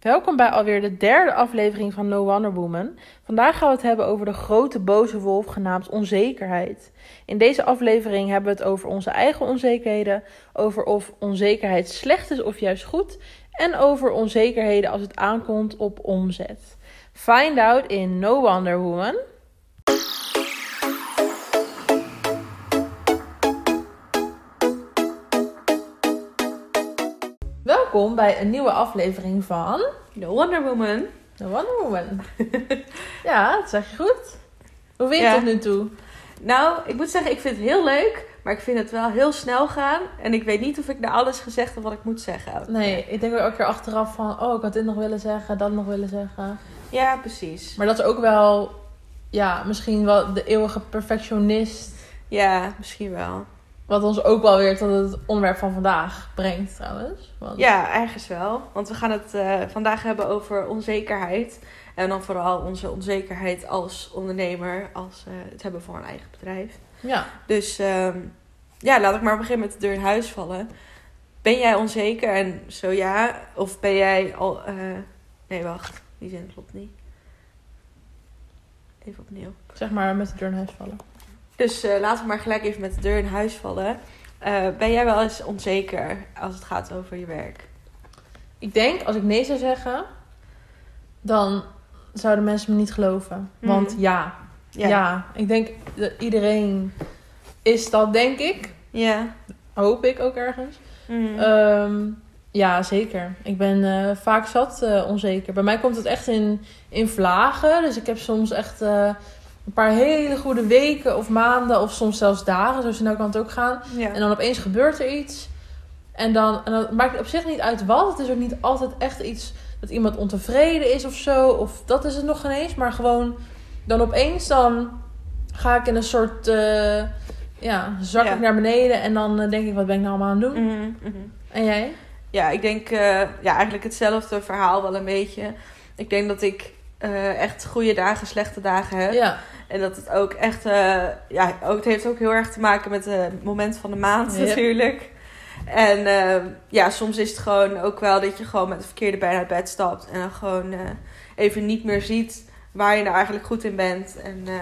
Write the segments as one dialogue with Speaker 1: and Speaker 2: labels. Speaker 1: Welkom bij alweer de derde aflevering van No Wonder Woman. Vandaag gaan we het hebben over de grote boze wolf genaamd onzekerheid. In deze aflevering hebben we het over onze eigen onzekerheden, over of onzekerheid slecht is of juist goed en over onzekerheden als het aankomt op omzet. Find out in No Wonder Woman. Welkom bij een nieuwe aflevering van
Speaker 2: De Wonder Woman.
Speaker 1: No Wonder Woman. ja, dat zeg je goed. Hoe vind je
Speaker 2: Ja.
Speaker 1: het tot nu toe?
Speaker 2: Nou, ik moet zeggen, ik vind het heel leuk, maar ik vind het wel heel snel gaan. En ik weet niet of ik naar alles gezegd heb wat ik moet zeggen. elke
Speaker 1: Nee, ik denk ook elke keer achteraf van, oh, ik had dit nog willen zeggen, dat nog willen zeggen.
Speaker 2: keer. Ja, precies.
Speaker 1: Maar dat is ook wel, ja, misschien wel de eeuwige perfectionist.
Speaker 2: Ja, misschien wel.
Speaker 1: Wat ons ook wel weer tot het onderwerp van vandaag brengt, trouwens. Want,
Speaker 2: Ja, ergens wel. Want we gaan het eh, vandaag hebben over onzekerheid. En dan vooral onze onzekerheid als ondernemer, als eh, het hebben van een eigen bedrijf.
Speaker 1: ja.
Speaker 2: Dus ehm, ja, laat ik maar beginnen met de deur in huis vallen. Ben jij onzeker? En zo ja, of ben jij al. eh, Nee, wacht, die zin klopt niet. Even opnieuw.
Speaker 1: zeg maar met de deur in huis vallen.
Speaker 2: Dus eh, laten we maar gelijk even met de deur in huis vallen. Eh, ben jij wel eens onzeker als het gaat over je werk?
Speaker 1: Ik denk, als ik nee zou zeggen, dan zouden mensen me niet geloven.
Speaker 2: Mhm.
Speaker 1: Want ja, ja, ik denk dat iedereen is dat, denk ik.
Speaker 2: Ja.
Speaker 1: Hoop ik ook ergens.
Speaker 2: Mm.
Speaker 1: Ehm, ja, zeker. Ik ben eh, vaak zat eh, onzeker. Bij mij komt het echt in, in vlagen. Dus ik heb soms echt eh, een paar hele goede weken of maanden of soms zelfs dagen. Zo snel kan het ook gaan.
Speaker 2: ja.
Speaker 1: En dan opeens gebeurt er iets. En dan, en dan maakt het op zich niet uit wat. Het is ook niet altijd echt iets dat iemand ontevreden is of zo. Of dat is het nog geen eens. Maar gewoon dan opeens dan ga ik in een soort... eh, ja, zak
Speaker 2: Ja.
Speaker 1: ik naar beneden. En dan eh, denk ik, wat ben ik nou allemaal aan het doen?
Speaker 2: Mhm, mhm.
Speaker 1: En jij?
Speaker 2: Ja, ik denk eh, ja, eigenlijk hetzelfde verhaal wel een beetje. Ik denk dat ik eh, echt goede dagen, slechte dagen heb.
Speaker 1: Ja,
Speaker 2: En dat het ook echt, eh, ja, ook, het heeft ook heel erg te maken met eh, het moment van de maand
Speaker 1: Yep.
Speaker 2: natuurlijk. En eh, ja, soms is het gewoon ook wel dat je gewoon met de verkeerde been uit bed stapt. En dan gewoon eh, even niet meer ziet waar je nou eigenlijk goed in bent. En eh,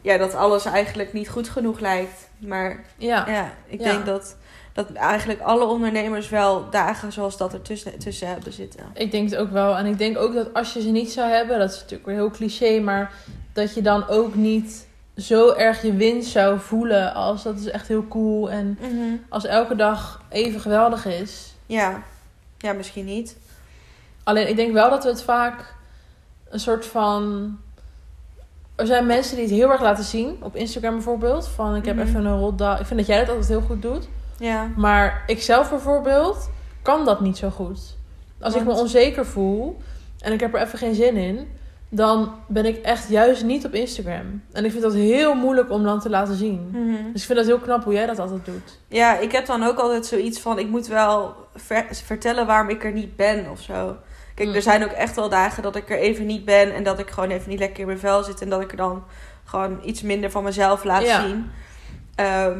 Speaker 2: ja, dat alles eigenlijk niet goed genoeg lijkt. Maar
Speaker 1: ja.
Speaker 2: ja, ik
Speaker 1: Ja.
Speaker 2: denk dat, dat eigenlijk alle ondernemers wel dagen zoals dat er tussen, tussen hebben zitten.
Speaker 1: Ik denk het ook wel. En ik denk ook dat als je ze niet zou hebben, dat is natuurlijk weer heel cliché, maar dat je dan ook niet zo erg je winst zou voelen als dat is echt heel cool en als elke dag even geweldig is.
Speaker 2: Ja. ja, misschien niet.
Speaker 1: Alleen ik denk wel dat we het vaak een soort van. Er zijn mensen die het heel erg laten zien, op Instagram bijvoorbeeld. Van ik heb
Speaker 2: Mhm.
Speaker 1: even een rot dag. Ik vind dat jij dat altijd heel goed doet.
Speaker 2: Ja,
Speaker 1: Maar ik zelf bijvoorbeeld kan dat niet zo goed. Als ik me
Speaker 2: Want?
Speaker 1: onzeker voel en ik heb er even geen zin in, dan ben ik echt juist niet op Instagram. En ik vind dat heel moeilijk om dan te laten zien.
Speaker 2: Mhm.
Speaker 1: Dus ik vind dat heel knap hoe jij dat altijd doet.
Speaker 2: ja ik heb dan ook altijd zoiets van: ik moet wel ver- vertellen waarom ik er niet ben of zo. Kijk,
Speaker 1: Mm.
Speaker 2: er zijn ook echt wel dagen dat ik er even niet ben en dat ik gewoon even niet lekker in mijn vel zit en dat ik er dan gewoon iets minder van mezelf laat
Speaker 1: Ja.
Speaker 2: zien. Ehm,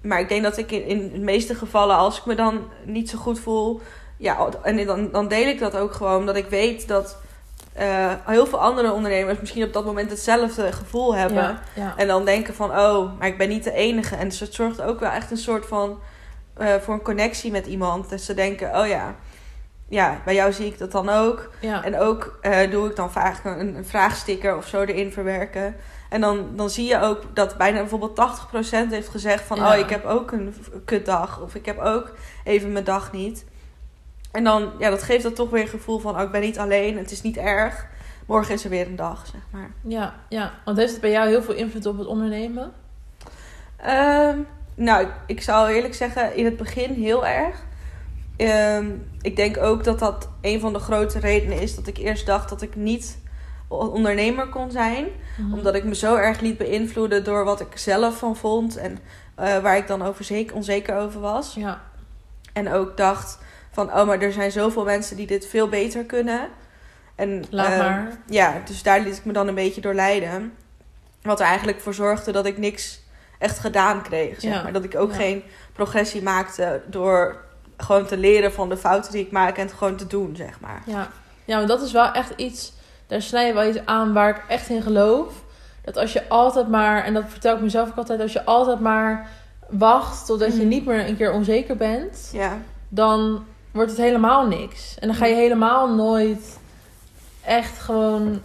Speaker 2: maar ik denk dat ik in, in de meeste gevallen, als ik me dan niet zo goed voel, ja, en dan, dan deel ik dat ook gewoon, omdat ik weet dat eh, heel veel andere ondernemers misschien op dat moment hetzelfde gevoel hebben.
Speaker 1: Ja, ja.
Speaker 2: En dan denken van, oh, maar ik ben niet de enige. En dus het zorgt ook wel echt een soort van... eh, voor een connectie met iemand. Dus ze denken, oh ja, ja, bij jou zie ik dat dan ook.
Speaker 1: ja.
Speaker 2: En ook eh, doe ik dan vaak een, een vraagsticker of zo erin verwerken. En dan, dan zie je ook dat bijna bijvoorbeeld 80% heeft gezegd van...
Speaker 1: Ja.
Speaker 2: oh, ik heb ook een v- kutdag. Of ik heb ook even mijn dag niet. En dan, ja, dat geeft dat toch weer een gevoel van... oh, ik ben niet alleen, het is niet erg. Morgen is er weer een dag, zeg maar.
Speaker 1: ja, ja. Want heeft het bij jou heel veel invloed op het ondernemen?
Speaker 2: Ehm, nou, ik, ik zou eerlijk zeggen, in het begin heel erg. Ehm, ik denk ook dat dat een van de grote redenen is dat ik eerst dacht dat ik niet o- ondernemer kon zijn. Omdat ik me zo erg liet beïnvloeden door wat ik zelf van vond en eh, waar ik dan over zeker, onzeker over was.
Speaker 1: Ja,
Speaker 2: En ook dacht van, oh, maar er zijn zoveel mensen die dit veel beter kunnen. En,
Speaker 1: laat
Speaker 2: ehm,
Speaker 1: maar.
Speaker 2: ja, dus daar liet ik me dan een beetje door leiden. Wat er eigenlijk voor zorgde dat ik niks echt gedaan kreeg. Zeg
Speaker 1: Ja.
Speaker 2: maar. Dat ik ook
Speaker 1: Ja.
Speaker 2: geen progressie maakte door gewoon te leren van de fouten die ik maak en het gewoon te doen, zeg maar.
Speaker 1: Ja. Ja, maar dat is wel echt iets. Daar snij je wel iets aan waar ik echt in geloof. Dat als je altijd maar, en dat vertel ik mezelf ook altijd, als je altijd maar wacht totdat je
Speaker 2: Mhm.
Speaker 1: niet meer een keer onzeker bent,
Speaker 2: Ja.
Speaker 1: dan wordt het helemaal niks. En dan ga
Speaker 2: Mhm.
Speaker 1: je helemaal nooit echt gewoon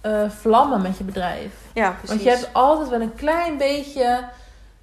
Speaker 1: eh, vlammen met je bedrijf.
Speaker 2: Ja, precies.
Speaker 1: Want je hebt altijd wel een klein beetje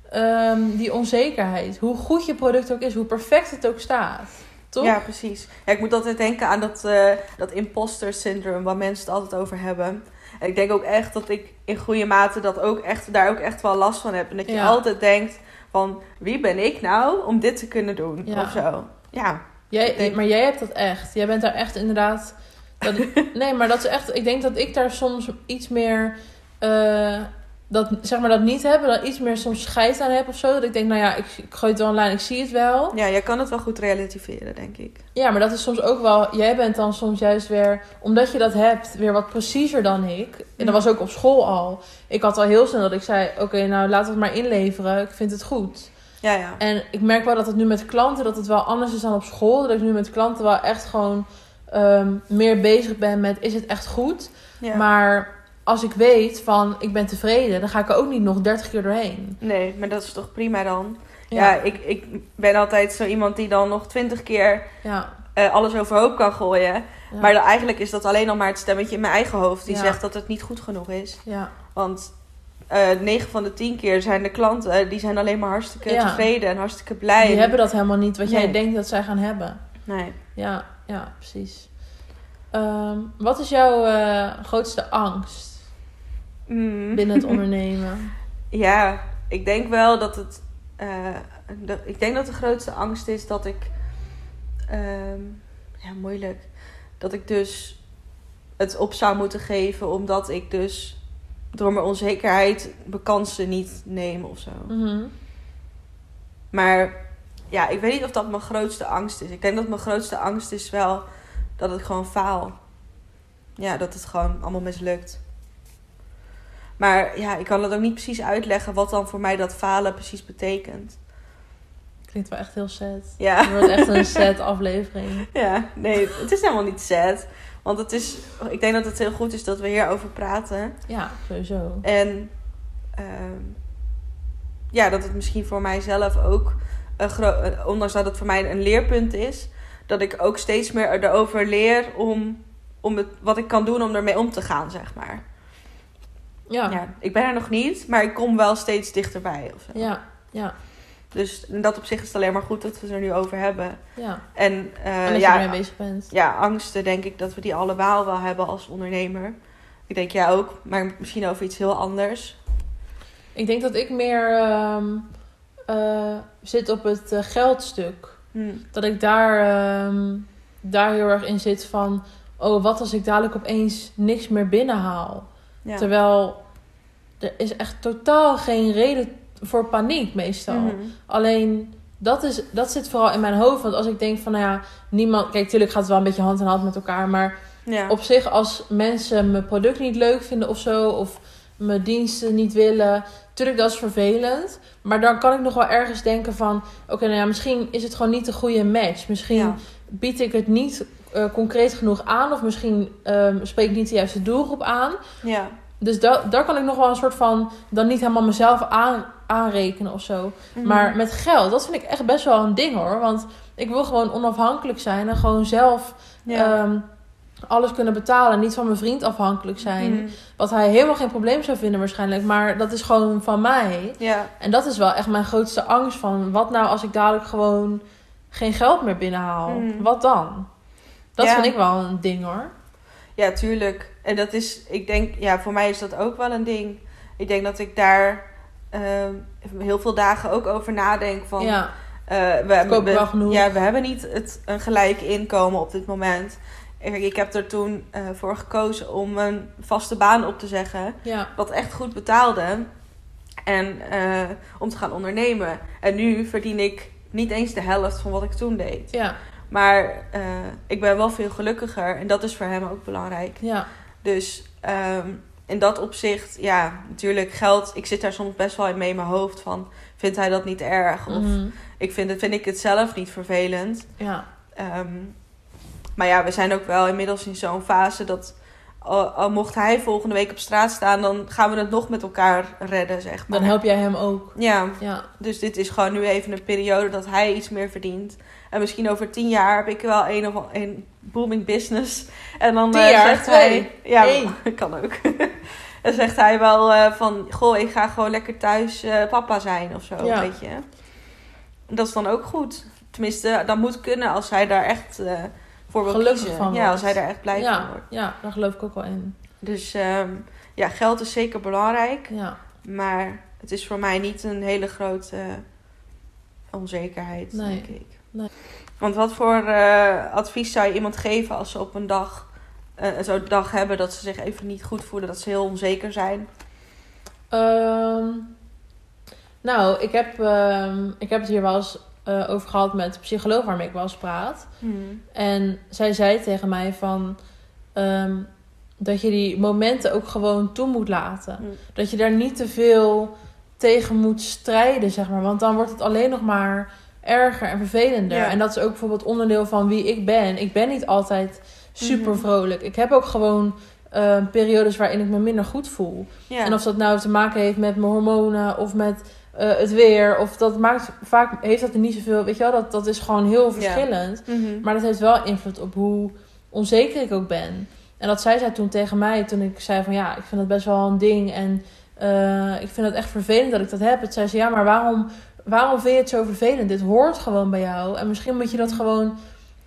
Speaker 1: ehm, die onzekerheid. Hoe goed je product ook is, hoe perfect het ook staat. Toch?
Speaker 2: Ja, precies. Ja, ik moet altijd denken aan dat, eh, dat imposter syndroom waar mensen het altijd over hebben. En ik denk ook echt dat ik in goede mate dat ook echt, daar ook echt wel last van heb. En dat je
Speaker 1: Ja.
Speaker 2: altijd denkt van wie ben ik nou om dit te kunnen doen
Speaker 1: Ja.
Speaker 2: of zo. Ja,
Speaker 1: Jij,
Speaker 2: Ik denk-
Speaker 1: Maar jij hebt dat echt. Jij bent daar echt inderdaad. Dat, nee, maar dat is echt. Ik denk dat ik daar soms iets meer. eh, dat, zeg maar dat niet heb. en Dat iets meer soms scheid aan heb of zo. Dat ik denk, nou ja, ik, ik gooi het wel online. Ik zie het wel.
Speaker 2: ja jij kan het wel goed relativeren, denk ik.
Speaker 1: Ja, maar dat is soms ook wel. Jij bent dan soms juist weer, omdat je dat hebt, weer wat preciezer dan ik. En dat was ook op school al. Ik had al heel snel dat ik zei: Oké, nou laat het maar inleveren. Ik vind het goed.
Speaker 2: Ja, ja.
Speaker 1: En ik merk wel dat het nu met klanten dat het wel anders is dan op school. Dat ik nu met klanten wel echt gewoon ehm, meer bezig ben met: Is het echt goed?
Speaker 2: ja.
Speaker 1: Maar als ik weet van ik ben tevreden, dan ga ik er ook niet nog 30 keer doorheen.
Speaker 2: Nee, maar dat is toch prima dan? Ja, ik, ik ben altijd zo iemand die dan nog twintig keer
Speaker 1: ja,
Speaker 2: eh, alles overhoop kan gooien.
Speaker 1: ja,
Speaker 2: Maar dan, eigenlijk is dat alleen nog maar het stemmetje in mijn eigen hoofd die
Speaker 1: Ja.
Speaker 2: zegt dat het niet goed genoeg is.
Speaker 1: ja.
Speaker 2: Want eh 9 van de 10 keer zijn de klanten eh, die zijn alleen maar hartstikke
Speaker 1: Ja.
Speaker 2: tevreden en hartstikke blij.
Speaker 1: Die hebben dat helemaal niet wat jij
Speaker 2: Nee.
Speaker 1: denkt dat zij gaan hebben.
Speaker 2: Nee.
Speaker 1: Ja, ja, precies. Ehm, wat is jouw eh, grootste angst
Speaker 2: Mm.
Speaker 1: binnen het ondernemen?
Speaker 2: Ja, ik denk wel dat het. eh, de- ik denk dat de grootste angst is dat ik. ehm, ja, moeilijk. Dat ik dus het op zou moeten geven omdat ik dus door mijn onzekerheid mijn kansen niet neem of zo.
Speaker 1: Mhm.
Speaker 2: Maar ja, ik weet niet of dat mijn grootste angst is. Ik denk dat mijn grootste angst is wel dat het gewoon faal. Ja, dat het gewoon allemaal mislukt. Maar ja, ik kan dat ook niet precies uitleggen wat dan voor mij dat falen precies betekent.
Speaker 1: Klinkt wel echt heel sad. Het
Speaker 2: Ja,
Speaker 1: wordt echt een sad aflevering.
Speaker 2: ja nee, het is helemaal niet sad. Want het is, ik denk dat het heel goed is dat we hierover praten.
Speaker 1: Ja, sowieso.
Speaker 2: En ehm, ja, dat het misschien voor mijzelf ook, een gro- eh, ondanks dat het voor mij een leerpunt is, dat ik ook steeds meer erover leer om, om het, wat ik kan doen om ermee om te gaan, zeg maar.
Speaker 1: Ja, ja,
Speaker 2: Ja, ik ben er nog niet, maar ik kom wel steeds dichterbij. Of zo.
Speaker 1: ja, ja.
Speaker 2: Dus in dat opzicht is het alleen maar goed dat we het er nu over hebben. En, eh,
Speaker 1: En dat je
Speaker 2: ja,
Speaker 1: ermee bezig bent.
Speaker 2: ja, angsten denk ik dat we die allemaal wel hebben als ondernemer. Ik denk jij ook, maar misschien over iets heel anders.
Speaker 1: Ik denk dat ik meer ehm, eh, zit op het eh, geldstuk.
Speaker 2: Hm.
Speaker 1: dat ik daar, ehm, daar heel erg in zit van... oh, wat als ik dadelijk opeens niks meer binnenhaal?
Speaker 2: Ja.
Speaker 1: Terwijl er is echt totaal geen reden voor paniek meestal.
Speaker 2: Mhm.
Speaker 1: Alleen dat, is, dat zit vooral in mijn hoofd. Want als ik denk van, nou ja, niemand... Kijk, tuurlijk gaat het wel een beetje hand in hand met elkaar. Maar
Speaker 2: Ja.
Speaker 1: op zich, als mensen mijn product niet leuk vinden of zo... of mijn diensten niet willen... Tuurlijk, dat is vervelend. Maar dan kan ik nog wel ergens denken van... Oké, nou ja, misschien is het gewoon niet de goede match. Misschien
Speaker 2: Ja.
Speaker 1: bied ik het niet eh, concreet genoeg aan. Of misschien ehm, spreek ik niet de juiste doelgroep aan.
Speaker 2: Ja.
Speaker 1: Dus da daar kan ik nog wel een soort van dan niet helemaal mezelf aan aanrekenen of zo.
Speaker 2: Mhm.
Speaker 1: Maar met geld, dat vind ik echt best wel een ding hoor. Want ik wil gewoon onafhankelijk zijn en gewoon zelf
Speaker 2: ja.
Speaker 1: ehm, alles kunnen betalen. Niet van mijn vriend afhankelijk zijn.
Speaker 2: Mhm.
Speaker 1: Wat hij helemaal geen probleem zou vinden waarschijnlijk. Maar dat is gewoon van mij.
Speaker 2: Ja,
Speaker 1: En dat is wel echt mijn grootste angst van wat nou als ik dadelijk gewoon geen geld meer binnenhaal?
Speaker 2: Mm.
Speaker 1: Wat dan? Dat
Speaker 2: Ja.
Speaker 1: vind ik wel een ding hoor.
Speaker 2: ja, tuurlijk. En dat is, ik denk, ja, voor mij is dat ook wel een ding. Ik denk dat ik daar ehm, heel veel dagen ook over nadenk van.
Speaker 1: ja,
Speaker 2: eh, we, hebben,
Speaker 1: wel genoeg.
Speaker 2: ja, we hebben niet het, een gelijk inkomen op dit moment. Ik, ik heb er toen eh, voor gekozen om een vaste baan op te zeggen.
Speaker 1: ja,
Speaker 2: wat echt goed betaalde. En eh, om te gaan ondernemen. En nu verdien ik niet eens de helft van wat ik toen deed.
Speaker 1: ja,
Speaker 2: Maar eh, ik ben wel veel gelukkiger en dat is voor hem ook belangrijk.
Speaker 1: ja,
Speaker 2: Dus ehm, in dat opzicht, ja, natuurlijk geld. Ik zit daar soms best wel in mee in mijn hoofd van, vindt hij dat niet erg? Of
Speaker 1: mhm,
Speaker 2: ik vind, het, vind ik het zelf niet vervelend.
Speaker 1: ja,
Speaker 2: Ehm, Maar ja, we zijn ook wel inmiddels in zo'n fase dat. al- al mocht hij volgende week op straat staan, dan gaan we het nog met elkaar redden, zeg maar.
Speaker 1: Dan help jij hem ook.
Speaker 2: Ja,
Speaker 1: Ja.
Speaker 2: dus dit is gewoon nu even een periode dat hij iets meer verdient. En misschien over tien jaar heb ik wel een of een booming business. En dan
Speaker 1: Tien
Speaker 2: eh,
Speaker 1: jaar,
Speaker 2: zegt
Speaker 1: twee,
Speaker 2: hij... Ja,
Speaker 1: één.
Speaker 2: kan ook. dan zegt hij wel eh, van... Goh, ik ga gewoon lekker thuis eh, papa zijn of zo,
Speaker 1: Ja.
Speaker 2: weet je. Dat is dan ook goed. Tenminste, dat moet kunnen als hij daar echt eh, voor wil
Speaker 1: Gelukkig
Speaker 2: kiezen.
Speaker 1: van
Speaker 2: ja,
Speaker 1: wordt.
Speaker 2: als hij daar echt blij van
Speaker 1: Ja,
Speaker 2: wordt.
Speaker 1: ja, daar geloof ik ook wel in.
Speaker 2: Dus ehm, ja, geld is zeker belangrijk.
Speaker 1: Ja.
Speaker 2: Maar het is voor mij niet een hele grote eh, onzekerheid,
Speaker 1: Nee.
Speaker 2: denk ik.
Speaker 1: Nee.
Speaker 2: Want wat voor eh, advies zou je iemand geven als ze op een dag eh, zo'n dag hebben dat ze zich even niet goed voelen, dat ze heel onzeker zijn?
Speaker 1: Ehm, nou, ik heb, ehm, ik heb het hier wel eens eh, over gehad met de psycholoog waarmee ik wel eens praat. Hmm. En zij zei tegen mij van ehm, dat je die momenten ook gewoon toe moet laten.
Speaker 2: Mm.
Speaker 1: Dat je daar niet te veel tegen moet strijden, zeg maar. Want dan wordt het alleen nog maar erger en vervelender.
Speaker 2: Ja.
Speaker 1: En dat is ook bijvoorbeeld onderdeel van wie ik ben. Ik ben niet altijd
Speaker 2: Mhm.
Speaker 1: super vrolijk. Ik heb ook gewoon ehm, periodes waarin ik me minder goed voel.
Speaker 2: Ja.
Speaker 1: En of dat nou te maken heeft met mijn hormonen of met eh, het weer. Of dat maakt vaak heeft dat er niet zoveel. Weet je wel, dat, dat is gewoon heel verschillend.
Speaker 2: Mhm.
Speaker 1: Maar dat heeft wel invloed op hoe onzeker ik ook ben. En dat zei zij toen tegen mij, toen ik zei van ja, ik vind dat best wel een ding. En eh, ik vind het echt vervelend dat ik dat heb. Het zei ze, ja, maar waarom, waarom vind je het zo vervelend? Dit hoort gewoon bij jou. En misschien moet je dat gewoon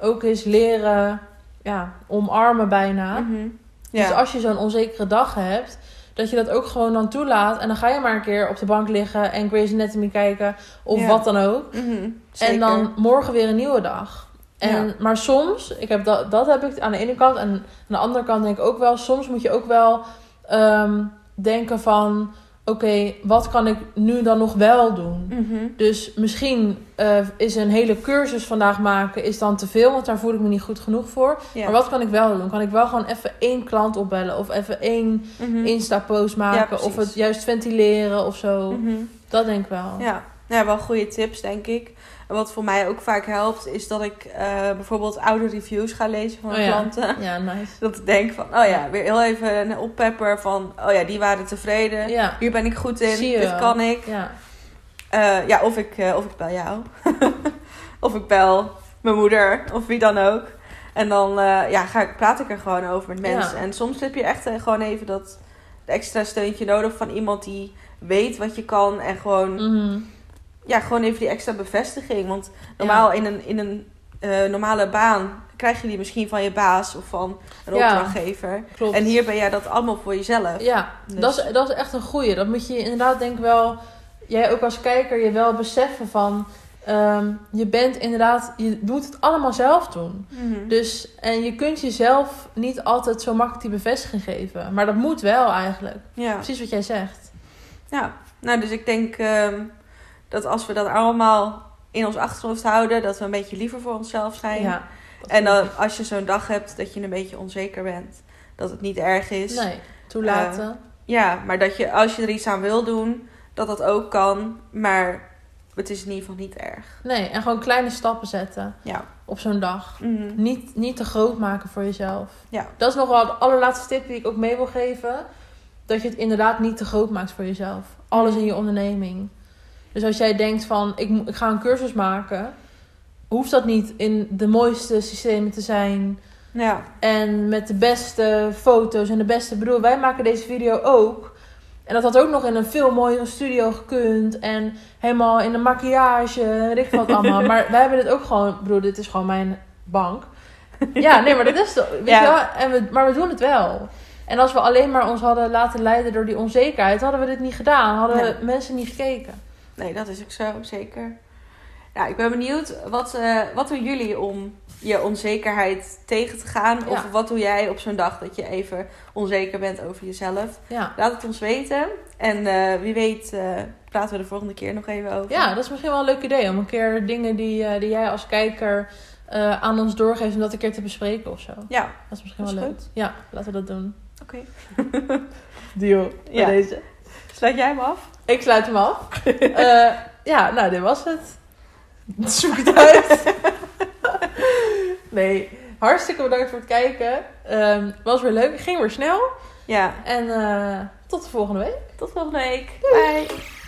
Speaker 1: ook eens leren ja, omarmen bijna.
Speaker 2: Mhm.
Speaker 1: Dus
Speaker 2: Ja.
Speaker 1: als je zo'n onzekere dag hebt, dat je dat ook gewoon dan toelaat. En dan ga je maar een keer op de bank liggen en Grey's Anatomy kijken of
Speaker 2: Ja.
Speaker 1: wat dan ook.
Speaker 2: Mhm.
Speaker 1: En
Speaker 2: Zeker.
Speaker 1: dan morgen weer een nieuwe dag. En, Maar soms, ik heb dat, dat heb ik aan de ene kant. En aan de andere kant denk ik ook wel, soms moet je ook wel ehm, denken van... Oké, wat kan ik nu dan nog wel doen?
Speaker 2: Mhm.
Speaker 1: Dus misschien eh, is een hele cursus vandaag maken is dan te veel, want daar voel ik me niet goed genoeg voor.
Speaker 2: Ja.
Speaker 1: Maar wat kan ik wel doen? Kan ik wel gewoon even één klant opbellen of even één
Speaker 2: Mhm.
Speaker 1: Insta-post maken
Speaker 2: precies.
Speaker 1: of het juist ventileren of zo?
Speaker 2: Mhm.
Speaker 1: Dat denk ik wel.
Speaker 2: Ja, ja wel goede tips, denk ik. En wat voor mij ook vaak helpt, is dat ik eh, bijvoorbeeld oude reviews ga lezen van
Speaker 1: Oh
Speaker 2: mijn
Speaker 1: ja.
Speaker 2: klanten.
Speaker 1: Ja, nice.
Speaker 2: Dat ik denk van, oh ja, weer heel even een oppepper van, oh ja, die waren tevreden.
Speaker 1: Ja,
Speaker 2: Hier ben ik goed in,
Speaker 1: Zie je
Speaker 2: dit
Speaker 1: wel.
Speaker 2: kan ik.
Speaker 1: ja.
Speaker 2: Eh, ja, of ik, eh, of ik bel jou. of ik bel mijn moeder, of wie dan ook. En dan eh, ja, ga ik, praat ik er gewoon over met
Speaker 1: Ja.
Speaker 2: mensen. En soms heb je echt eh, gewoon even dat extra steuntje nodig van iemand die weet wat je kan. En gewoon,
Speaker 1: Mhm.
Speaker 2: ja, gewoon even die extra bevestiging. Want normaal in een, in een eh, normale baan krijg je die misschien van je baas of van een
Speaker 1: Ja.
Speaker 2: opdrachtgever.
Speaker 1: Klopt.
Speaker 2: En hier ben jij dat allemaal voor jezelf.
Speaker 1: Ja,
Speaker 2: Dus-
Speaker 1: dat, is, dat is echt een goeie. Dat moet je inderdaad denk ik wel... Jij ook als kijker je wel beseffen van... ehm, je bent inderdaad... Je moet het allemaal zelf doen. Dus, en je kunt jezelf niet altijd zo makkelijk die bevestiging geven. Maar dat moet wel eigenlijk.
Speaker 2: ja.
Speaker 1: Precies wat jij zegt.
Speaker 2: ja. Nou, dus ik denk ehm, dat als we dat allemaal in ons achterhoofd houden, dat we een beetje liever voor onszelf zijn.
Speaker 1: Ja. dat
Speaker 2: En
Speaker 1: vind
Speaker 2: dan, als je zo'n dag hebt dat je een beetje onzeker bent, dat het niet erg
Speaker 1: ik.
Speaker 2: is.
Speaker 1: Nee, toelaten.
Speaker 2: Ja, maar dat je als je er iets aan wil doen, dat dat ook kan. Maar het is in ieder geval niet erg.
Speaker 1: Nee, en gewoon kleine stappen zetten
Speaker 2: Ja.
Speaker 1: op zo'n dag.
Speaker 2: Mhm.
Speaker 1: Niet, niet te groot maken voor jezelf.
Speaker 2: Ja.
Speaker 1: Dat is nog wel de allerlaatste tip die ik ook mee wil geven. Dat je het inderdaad niet te groot maakt voor jezelf. Alles in je onderneming. Dus als jij denkt van, ik, mo- ik ga een cursus maken. Hoeft dat niet in de mooiste systemen te zijn.
Speaker 2: Ja.
Speaker 1: En met de beste foto's en de beste... Ik bedoel, wij maken deze video ook. En dat had ook nog in een veel mooiere studio gekund. En helemaal in de maquillage. Weet ik veel wat allemaal. maar wij hebben dit ook gewoon... Ik bedoel, dit is gewoon mijn bank. Ja, nee, maar dat is toch... Weet
Speaker 2: Ja.
Speaker 1: je wel? En we, maar we doen het wel. En als we alleen maar ons hadden laten leiden door die onzekerheid... hadden we dit niet gedaan. Hadden
Speaker 2: Nee.
Speaker 1: we mensen niet gekeken.
Speaker 2: Nee, dat is ook zo, zeker. Nou, ik ben benieuwd, wat, eh, wat doen jullie om je onzekerheid tegen te gaan? Of
Speaker 1: Ja.
Speaker 2: wat doe jij op zo'n dag dat je even onzeker bent over jezelf?
Speaker 1: Ja.
Speaker 2: Laat het ons weten. En eh, wie weet eh, praten we de volgende keer nog even over.
Speaker 1: Ja, dat is misschien wel een leuk idee. Om een keer dingen die, eh, die jij als kijker eh, aan ons doorgeeft... om dat een keer te bespreken of zo.
Speaker 2: Ja,
Speaker 1: Dat is misschien
Speaker 2: Dat is
Speaker 1: wel leuk.
Speaker 2: goed.
Speaker 1: Ja, laten we dat doen.
Speaker 2: oké.
Speaker 1: Deal. Bij
Speaker 2: Ja.
Speaker 1: deze.
Speaker 2: Sluit jij hem af?
Speaker 1: Ik sluit hem af. Eh, ja, nou, dit was het. Zoek het uit. nee, Hartstikke bedankt voor het kijken. Ehm, was weer leuk. Ging weer snel.
Speaker 2: Ja,
Speaker 1: En eh, tot de volgende week.
Speaker 2: tot volgende week.
Speaker 1: Doei.
Speaker 2: Bye.